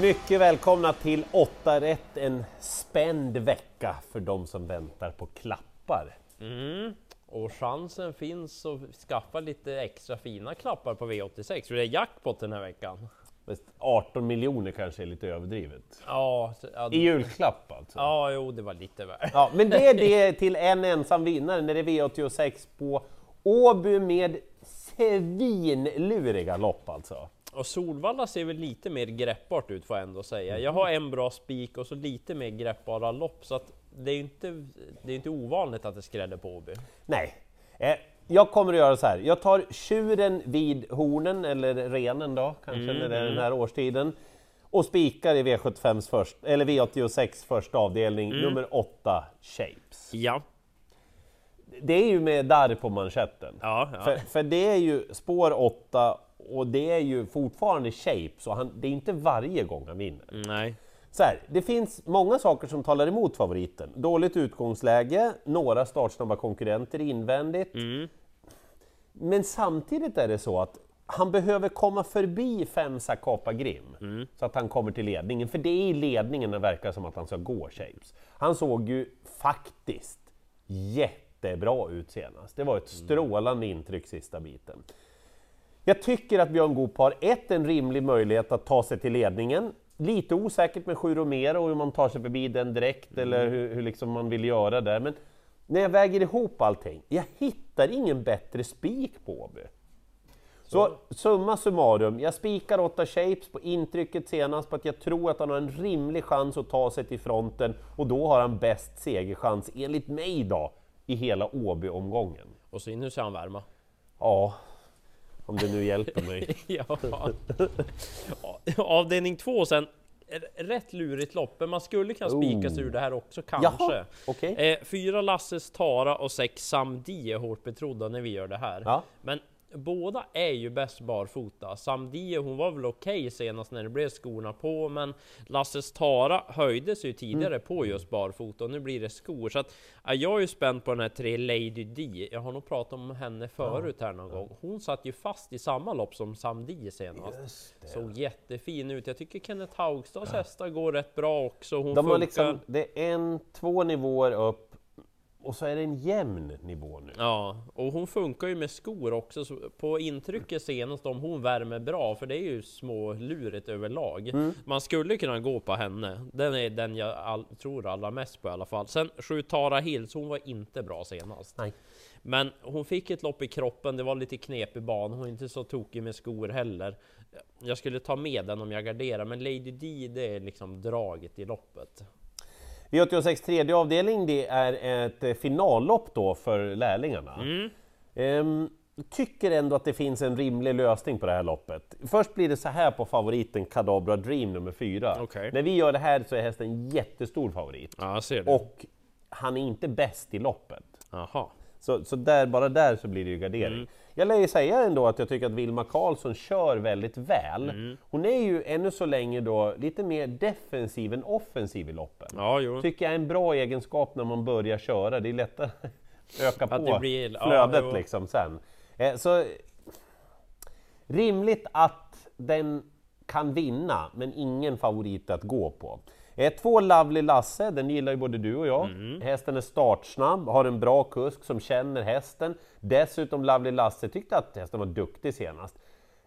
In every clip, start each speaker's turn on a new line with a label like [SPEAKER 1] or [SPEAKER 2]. [SPEAKER 1] Mycket välkomna till 8 rätt, en spänd vecka för de som väntar på klappar.
[SPEAKER 2] Mm. Och chansen finns att skaffa lite extra fina klappar på V86 för det är jackpot den här veckan.
[SPEAKER 1] Fast 18 miljoner kanske är lite överdrivet.
[SPEAKER 2] Ja, så- ja,
[SPEAKER 1] I
[SPEAKER 2] d-
[SPEAKER 1] julklapp alltså.
[SPEAKER 2] ja jo det var lite värt.
[SPEAKER 1] Ja, men det är det till en ensam vinnare när det är V86 på Åby med svinluriga lopp alltså.
[SPEAKER 2] Och Solvalla ser väl lite mer greppbart ut får jag ändå säga. Jag har en bra spik och så lite mer greppbara lopp så att det är ju inte, det är inte ovanligt att det skräller på Åby.
[SPEAKER 1] Nej, eh, jag kommer att göra så här. Jag tar tjuren vid hornen, eller renen då, kanske
[SPEAKER 2] Mm,
[SPEAKER 1] när det är den här årstiden. Och spikar i V75 först, eller V86 första avdelning,
[SPEAKER 2] Mm.
[SPEAKER 1] nummer 8, Shapes.
[SPEAKER 2] Ja,
[SPEAKER 1] Det är ju med darr på manschetten.
[SPEAKER 2] ja, ja.
[SPEAKER 1] För, för det är ju spår 8 och det är ju fortfarande Shapes, och han, det är inte varje gång han vinner.
[SPEAKER 2] Nej.
[SPEAKER 1] Så här, det finns många saker som talar emot favoriten. Dåligt utgångsläge, några startsnabba konkurrenter invändigt. Men samtidigt är det så att han behöver komma förbi fem Sakapa Grim så att han kommer till ledningen, för det är i ledningen det verkar som att han ska gå Shapes. Han såg ju faktiskt jättebra ut senast. Det var ett strålande intryck sista biten. Jag tycker att Björn Goop har ett, en rimlig möjlighet att ta sig till ledningen. Lite osäkert med Juro Romero och hur man tar sig förbi den direkt eller hur, hur liksom man vill göra där. Men när jag väger ihop allting, jag hittar ingen bättre spik på Åby. Så summa summarum, jag spikar åtta shapes på intrycket senast på att jag tror att han har en rimlig chans att ta sig till fronten och då har han bäst segerchans, enligt mig då, i hela Åby-omgången.
[SPEAKER 2] Och så in nu ser han värma.
[SPEAKER 1] Ja, om det nu hjälper mig.
[SPEAKER 2] Ja. Avdelning två sen. R- Rätt lurigt lopp, men man skulle kunna spika sig ur det här också kanske.
[SPEAKER 1] Jaha, okej.
[SPEAKER 2] Eh, fyra Lasses Tara och sex Samdi är hårt betrodda när vi gör det här.
[SPEAKER 1] Ja.
[SPEAKER 2] Men båda är ju bäst barfota. Samdi, hon var väl okej senast när det blev skorna på, men Lasses Tara höjdes ju tidigare
[SPEAKER 1] Mm.
[SPEAKER 2] på just barfota och nu blir det skor. Så att, ja, jag är ju spänd på den här tre Lady D. Jag har nog pratat om henne förut här någon gång. Hon satt ju fast i samma lopp som Samdi senast. Såg jättefin ut. Jag tycker Kenneth Haugstads hästar går rätt bra också. Hon
[SPEAKER 1] De har
[SPEAKER 2] funkar.
[SPEAKER 1] liksom, det är en, två nivåer upp och så är det en jämn nivå nu.
[SPEAKER 2] Ja, och hon funkar ju med skor också, så på intrycket senast om hon värmer bra, för det är ju små luret överlag.
[SPEAKER 1] Mm.
[SPEAKER 2] Man skulle kunna gå på henne, den är den jag all, tror allra mest på i alla fall. Sen sju Tara Hills, hon var inte bra senast.
[SPEAKER 1] Nej.
[SPEAKER 2] Men hon fick ett lopp i kroppen, det var lite knepig ban, hon är inte så tokig med skor heller. Jag skulle ta med den om jag garderar, men Lady D det är liksom draget i loppet.
[SPEAKER 1] V86 tredje avdelning, det är ett eh, finallopp då för lärlingarna.
[SPEAKER 2] Mm.
[SPEAKER 1] Ehm, tycker ändå att det finns en rimlig lösning på det här loppet. Först blir det så här på favoriten Kadabra Dream nummer fyra.
[SPEAKER 2] Okej.
[SPEAKER 1] När vi gör det här så är hästen en jättestor favorit
[SPEAKER 2] Ja, jag ser
[SPEAKER 1] och han är inte bäst i loppet.
[SPEAKER 2] Aha.
[SPEAKER 1] Så, så där, bara där så blir det ju gardering. Jag lär ju säga ändå att jag tycker att Vilma Karlsson kör väldigt väl. Hon är ju ännu så länge då lite mer defensiv än offensiv i loppen.
[SPEAKER 2] Ja, jo.
[SPEAKER 1] Tycker jag är en bra egenskap när man börjar köra, det är lättare att öka
[SPEAKER 2] Att
[SPEAKER 1] på
[SPEAKER 2] det blir- ja,
[SPEAKER 1] flödet
[SPEAKER 2] jo.
[SPEAKER 1] liksom sen. Eh, Så rimligt att den kan vinna, men ingen favorit att gå på. Eh, Två Lovely Lasse, den gillar ju både du och jag.
[SPEAKER 2] Mm.
[SPEAKER 1] Hästen är startsnabb, har en bra kusk som känner hästen. Dessutom Lovely Lasse tyckte att hästen var duktig senast.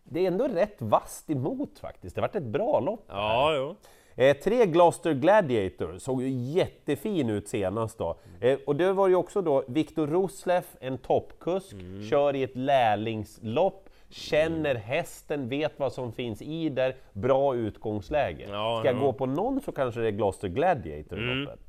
[SPEAKER 1] Det är ändå rätt vasst emot faktiskt, det har varit ett bra lopp.
[SPEAKER 2] Ja, jo.
[SPEAKER 1] Eh, tre Gloucester Gladiator såg ju jättefin ut senast då.
[SPEAKER 2] Mm.
[SPEAKER 1] Eh, och det var ju också då Viktor Rosleff, en toppkusk,
[SPEAKER 2] Mm.
[SPEAKER 1] kör i ett lärlingslopp, känner hästen, vet vad som finns i där, bra utgångsläge.
[SPEAKER 2] Ja,
[SPEAKER 1] Ska jag
[SPEAKER 2] ja. Mm.
[SPEAKER 1] gå på någon så kanske det är Gloucester Gladiator i loppet.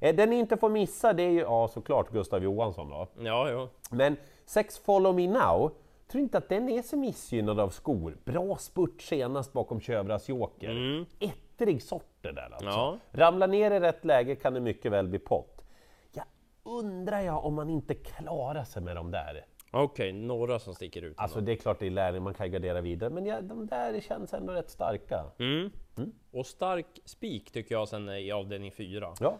[SPEAKER 1] Eh, den ni inte får missa, det är ju ja, såklart Gustav Johansson då.
[SPEAKER 2] Ja, jo.
[SPEAKER 1] Men sex Follow Me Now, tror inte att den är så missgynnad av skor. Bra spurt senast bakom Kövras Joker. Ettrig sorter där alltså.
[SPEAKER 2] Mm. Ja.
[SPEAKER 1] Ramlar ner i rätt läge kan det mycket väl bli pott. Jag undrar jag om man inte klarar sig med de där.
[SPEAKER 2] Okej, några som sticker ut.
[SPEAKER 1] Alltså det är klart det är lärling, man kan ju gardera vidare, men ja, de där känns ändå rätt
[SPEAKER 2] Mm.
[SPEAKER 1] starka.
[SPEAKER 2] Och stark spik tycker jag sen i avdelning 4.
[SPEAKER 1] Ja.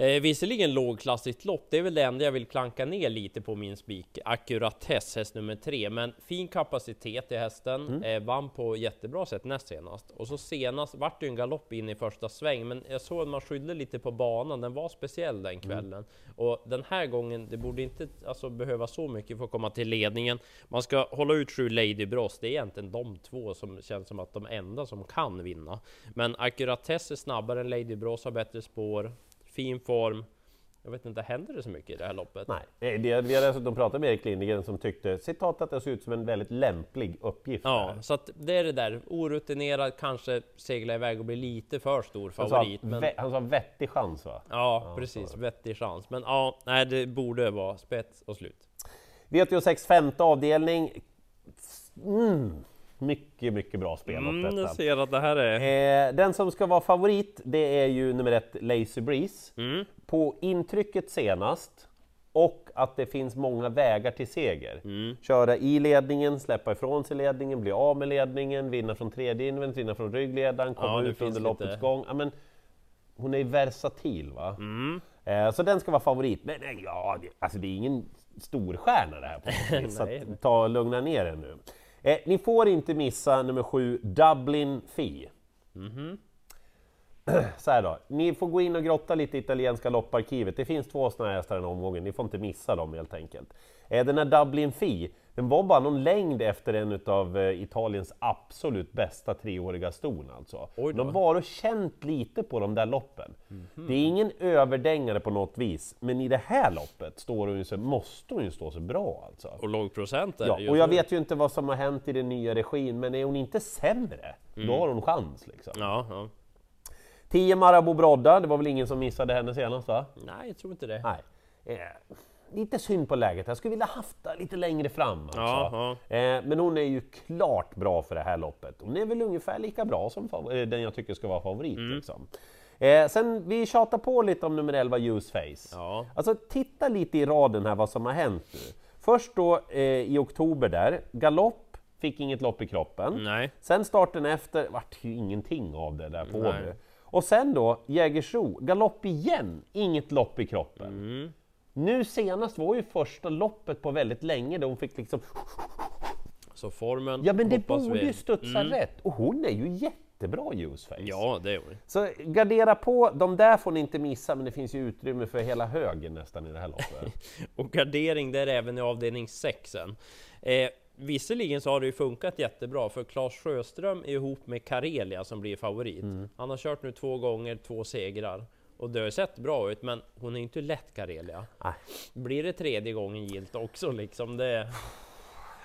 [SPEAKER 2] Eh, visserligen lågklassigt lopp, det är väl det enda jag vill klanka ner lite på min spik. Accuratess, häst nummer tre. Men fin kapacitet i hästen, eh, vann på jättebra sätt näst senast. Och så senast vart det ju en galopp in i första sväng, men jag såg att man skyllde lite på banan, den var speciell den kvällen. Och den här gången, det borde inte alltså, behöva så mycket för att komma till ledningen. Man ska hålla ut sju Lady Bros, det är egentligen de två som känns som att de enda som kan vinna. Men Accuratess är snabbare än Lady Bros, har bättre spår, fin form. Jag vet inte, händer det så mycket i det här loppet?
[SPEAKER 1] Nej, eh, det, vi har dessutom pratat med Erik Lindgren som tyckte citat att det såg ut som en väldigt lämplig uppgift.
[SPEAKER 2] Ja,
[SPEAKER 1] där.
[SPEAKER 2] så att det är det där. Orutinerad, kanske segla iväg och bli lite för stor
[SPEAKER 1] Han sa,
[SPEAKER 2] favorit. Men...
[SPEAKER 1] Alltså, vä- han sa vettig chans va?
[SPEAKER 2] Ja, precis. Vettig chans. Men ja, nej, det borde vara spets och slut.
[SPEAKER 1] V86 femte avdelning. Mm, mycket, mycket bra spel åt
[SPEAKER 2] Mm,
[SPEAKER 1] detta.
[SPEAKER 2] jag ser att det här är...
[SPEAKER 1] Eh, den som ska vara favorit det är ju nummer ett Lazy Breeze.
[SPEAKER 2] Mm.
[SPEAKER 1] På intrycket senast och att det finns många vägar till seger.
[SPEAKER 2] Mm.
[SPEAKER 1] Köra i ledningen, släppa ifrån sig ledningen, bli av med ledningen, vinna från tredje invent, vinna från ryggledaren, komma
[SPEAKER 2] Ja, det
[SPEAKER 1] ut
[SPEAKER 2] finns
[SPEAKER 1] under loppets
[SPEAKER 2] lite.
[SPEAKER 1] gång. Ja, men, hon är ju versatil va?
[SPEAKER 2] Mm.
[SPEAKER 1] Eh, så den ska vara favorit. Men eh, ja, det, alltså det är ingen storstjärna det här på något vis, så
[SPEAKER 2] Nej.
[SPEAKER 1] att, ta och lugna ner er nu. Eh, ni får inte missa nummer sju, Dublin Fee. Så här då, ni får gå in och grotta lite i italienska lopparkivet. Det finns två sådana här hästar den här omgången, ni får inte missa dem helt enkelt. Eh, Den här Dublin Fee, den var bara någon längd efter en av Italiens absolut bästa treåriga ston alltså.
[SPEAKER 2] Oj då. Mhm.
[SPEAKER 1] De var och känt lite på de där loppen. Det är ingen överdängare på något vis, men i det här loppet står hon ju så, måste hon ju stå så bra alltså.
[SPEAKER 2] Och låg procent är det
[SPEAKER 1] Ja,
[SPEAKER 2] just
[SPEAKER 1] och jag
[SPEAKER 2] nu.
[SPEAKER 1] vet ju inte vad som har hänt i den nya regin, men är hon inte sämre, då
[SPEAKER 2] Mm.
[SPEAKER 1] har hon chans liksom.
[SPEAKER 2] Ja, ja.
[SPEAKER 1] 10 Marabou Brodda, det var väl ingen som missade henne senast va?
[SPEAKER 2] Nej, jag tror inte det.
[SPEAKER 1] Nej. Eh, lite synd på läget, jag skulle vilja haft det lite längre fram. Alltså.
[SPEAKER 2] Ja,
[SPEAKER 1] Eh, men hon är ju klart bra för det här loppet. Hon är väl ungefär lika bra som fav- eh, den jag tycker ska vara favorit. Liksom. Eh, sen, vi tjatar på lite om nummer 11, Use Face.
[SPEAKER 2] Ja.
[SPEAKER 1] Alltså titta lite i raden här vad som har hänt nu. Först då eh, i oktober där, galopp, fick inget lopp i kroppen.
[SPEAKER 2] Nej.
[SPEAKER 1] Sen starten efter vart ju ingenting av det där på
[SPEAKER 2] Nej.
[SPEAKER 1] Åby. Och sen då Jägersro, galopp igen, inget lopp i kroppen.
[SPEAKER 2] Mm.
[SPEAKER 1] Nu senast var ju första loppet på väldigt länge då hon fick liksom,
[SPEAKER 2] Så formen
[SPEAKER 1] ja men det
[SPEAKER 2] hoppas
[SPEAKER 1] borde
[SPEAKER 2] vi-
[SPEAKER 1] ju studsa rätt. Och hon är ju jättebra Juiceface.
[SPEAKER 2] Ja, det är hon.
[SPEAKER 1] Så gardera på, de där får ni inte missa men det finns ju utrymme för hela högen nästan i det här loppet.
[SPEAKER 2] Och gardering där även i avdelning 6 sen. Eh, visserligen så har det ju funkat jättebra för Claes Sjöström är ihop med Karelia som blir favorit. Han har kört nu två gånger, två segrar. Och det har ju sett bra ut, men hon är ju inte lätt Karelia.
[SPEAKER 1] Nej.
[SPEAKER 2] Blir det tredje gången gilt också liksom? Det...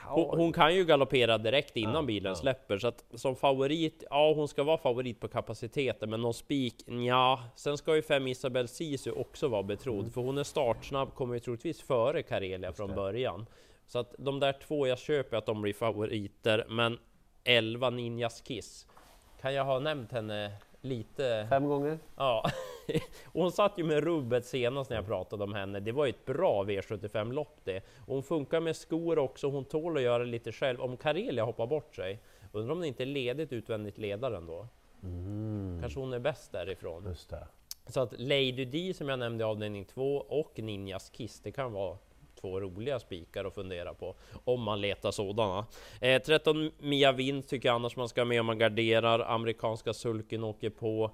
[SPEAKER 2] Hon, hon kan ju galoppera direkt innan bilen släpper, så att som favorit, ja hon ska vara favorit på kapaciteten, men någon spik, ja. Sen ska ju fem Isabel Sisu också vara betrodd, för hon är startsnabb, kommer ju troligtvis före Karelia från början. Så att de där två, jag köper att de blir favoriter, men 11 Ninjas Kiss, kan jag ha nämnt henne lite?
[SPEAKER 1] Fem gånger?
[SPEAKER 2] Ja, och hon satt ju med rubbet senast när jag pratade om henne. Det var ju ett bra V75-lopp det. Och hon funkar med skor också, hon tål att göra lite själv. Om Karelia hoppar bort sig, undrar om det inte är ledigt utvändigt ledaren då? Kanske hon är bäst därifrån.
[SPEAKER 1] Mm, Just det.
[SPEAKER 2] Så att Lady D som jag nämnde i avdelning 2 och Ninjas Kiss, det kan vara två roliga spikar att fundera på om man letar sådana. Eh, 13 Mia Wind tycker jag annars man ska ha med om man garderar. Amerikanska sulken åker på.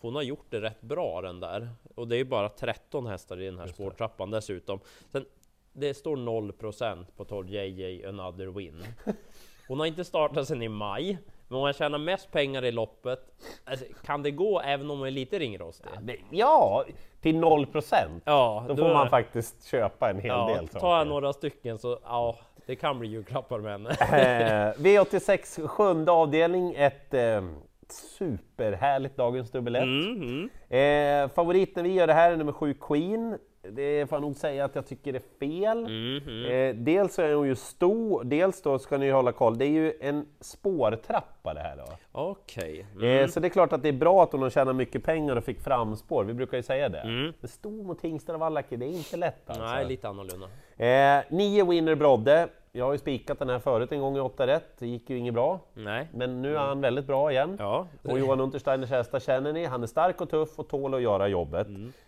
[SPEAKER 2] Hon har gjort det rätt bra den där och det är ju bara 13 hästar i den här spårtrappan dessutom. Sen, det står 0% på 12 JJ Another Win. Hon har inte startat sedan i maj, men hon tjänar mest pengar i loppet. Alltså, kan det gå även om hon är lite ringrostig?
[SPEAKER 1] Det- Ja, till noll procent.
[SPEAKER 2] Ja,
[SPEAKER 1] Då får man faktiskt köpa en hel
[SPEAKER 2] ja,
[SPEAKER 1] del
[SPEAKER 2] tar jag några stycken så ja, det kan bli julklappar med henne.
[SPEAKER 1] Eh, V86 sjunde avdelning, ett eh, superhärligt dagens dubbel ett. eh, Favorit när vi gör det här är nummer 7 Queen. Det får jag nog säga att jag tycker är fel. Eh, dels så är hon ju stor, dels då ska ni hålla koll, det är ju en spårtrappa det här då.
[SPEAKER 2] Okej.
[SPEAKER 1] Eh, så det är klart att det är bra att hon har tjänat mycket pengar och fick framspår, vi brukar ju säga det. Men stor mot Tingstad och Vallaki, det är inte lätt alltså.
[SPEAKER 2] Nej, lite annorlunda.
[SPEAKER 1] Eh, nio Winner Brodde. Jag har ju spikat den här förut en gång i 8 rätt, det gick ju inget bra.
[SPEAKER 2] Nej.
[SPEAKER 1] Men nu är han väldigt bra igen.
[SPEAKER 2] Ja.
[SPEAKER 1] Och Johan Untersteiners hästar känner ni, han är stark och tuff och tål att göra jobbet.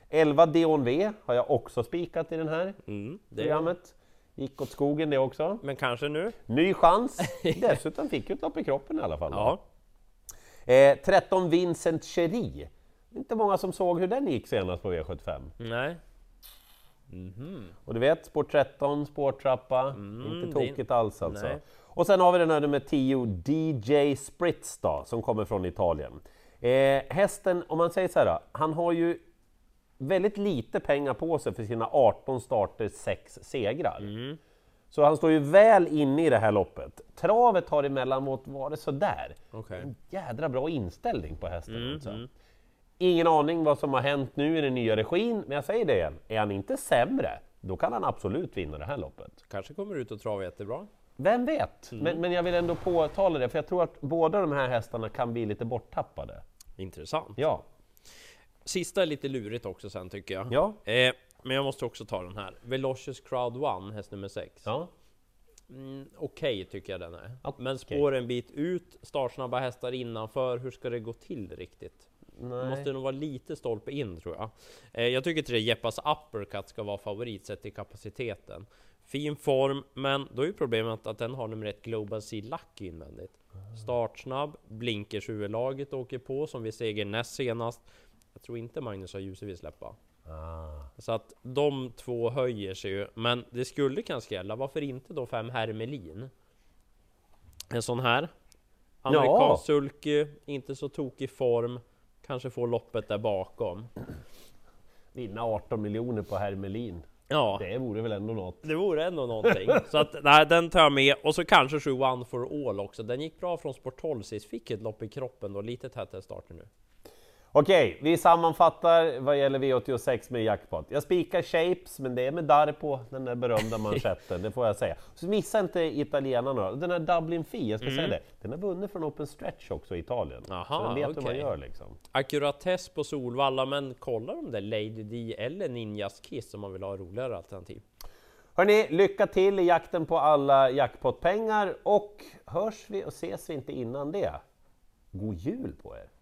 [SPEAKER 1] 11 DONV har jag också spikat i den här
[SPEAKER 2] Mm, det.
[SPEAKER 1] programmet. Gick åt skogen det också.
[SPEAKER 2] Men kanske nu?
[SPEAKER 1] Ny chans! Dessutom fick ju ett lopp i kroppen i alla fall.
[SPEAKER 2] Ja.
[SPEAKER 1] Eh, 13 Vincent Cheri. Inte många som såg hur den gick senast på V75.
[SPEAKER 2] Nej.
[SPEAKER 1] Och du vet, spår 13, spårtrappa, inte
[SPEAKER 2] Mm, det-
[SPEAKER 1] tokigt alls alltså.
[SPEAKER 2] nej.
[SPEAKER 1] Och sen har vi den här nummer 10, DJ Spritz då, som kommer från Italien. Eh, hästen, om man säger så här då, han har ju väldigt lite pengar på sig för sina 18 starter, 6 segrar.
[SPEAKER 2] Mm.
[SPEAKER 1] Så han står ju väl inne i det här loppet. Travet har emellanåt varit sådär.
[SPEAKER 2] Okej.
[SPEAKER 1] En jädra bra inställning på hästen
[SPEAKER 2] Mm,
[SPEAKER 1] alltså. Ingen aning vad som har hänt nu i den nya regin, men jag säger det igen. Är han inte sämre, då kan han absolut vinna det här loppet.
[SPEAKER 2] Kanske kommer ut och travar jättebra.
[SPEAKER 1] Vem vet?
[SPEAKER 2] Mm.
[SPEAKER 1] Men, men jag vill ändå påtala det, för jag tror att båda de här hästarna kan bli lite borttappade.
[SPEAKER 2] Intressant.
[SPEAKER 1] Ja,
[SPEAKER 2] Sista är lite lurigt också sen tycker jag.
[SPEAKER 1] ja,
[SPEAKER 2] Eh, men jag måste också ta den här. Velocious Crowd One, häst nummer 6.
[SPEAKER 1] ja.
[SPEAKER 2] Mm, Okej tycker jag den är.
[SPEAKER 1] Okej.
[SPEAKER 2] Men spår en bit ut, startsnabba hästar innanför. Hur ska det gå till riktigt? Det
[SPEAKER 1] Nej.
[SPEAKER 2] måste nog vara lite stolpe in tror jag. Eh, jag tycker inte det Jeppas uppercut ska vara favorit sett till kapaciteten. Fin form, men då är ju problemet att den har nummer ett Global Sea Lucky invändigt. Startsnabb, blinkers huvudlaget åker på som vi seger näst senast. Jag tror inte Magnus har ljuset vill släppa.
[SPEAKER 1] Ah.
[SPEAKER 2] Så att de två höjer sig ju, men det skulle kanske gälla, varför inte då fem Hermelin? En sån här. Amerikansk sulky, inte så tokig form, kanske får loppet där bakom.
[SPEAKER 1] Vinna 18 miljoner på Hermelin,
[SPEAKER 2] Ja,
[SPEAKER 1] det vore väl ändå något.
[SPEAKER 2] det vore ändå någonting. Så att nej, den tar jag med. Och så kanske 7 One for All också. Den gick bra från sport 12 sist, fick ett lopp i kroppen då, lite tätt i starten nu.
[SPEAKER 1] Okej, vi sammanfattar vad gäller V86 med jackpot. Jag spikar Shapes, men det är med darr på den där berömda manschetten, det får jag säga. Så missa inte italienarna då. Den här Dublin Fee, jag ska säga det, den har vunnit från Open Stretch också i Italien. så
[SPEAKER 2] Mm. Aha,
[SPEAKER 1] den vet hur man
[SPEAKER 2] okej.
[SPEAKER 1] gör liksom.
[SPEAKER 2] Akkuratess på Solvalla, men kolla om det är Lady D eller Ninjas Kiss om man vill ha roligare alternativ.
[SPEAKER 1] Hörni, lycka till i jakten på alla jackpotpengar och hörs vi och ses vi inte innan det, god jul på er!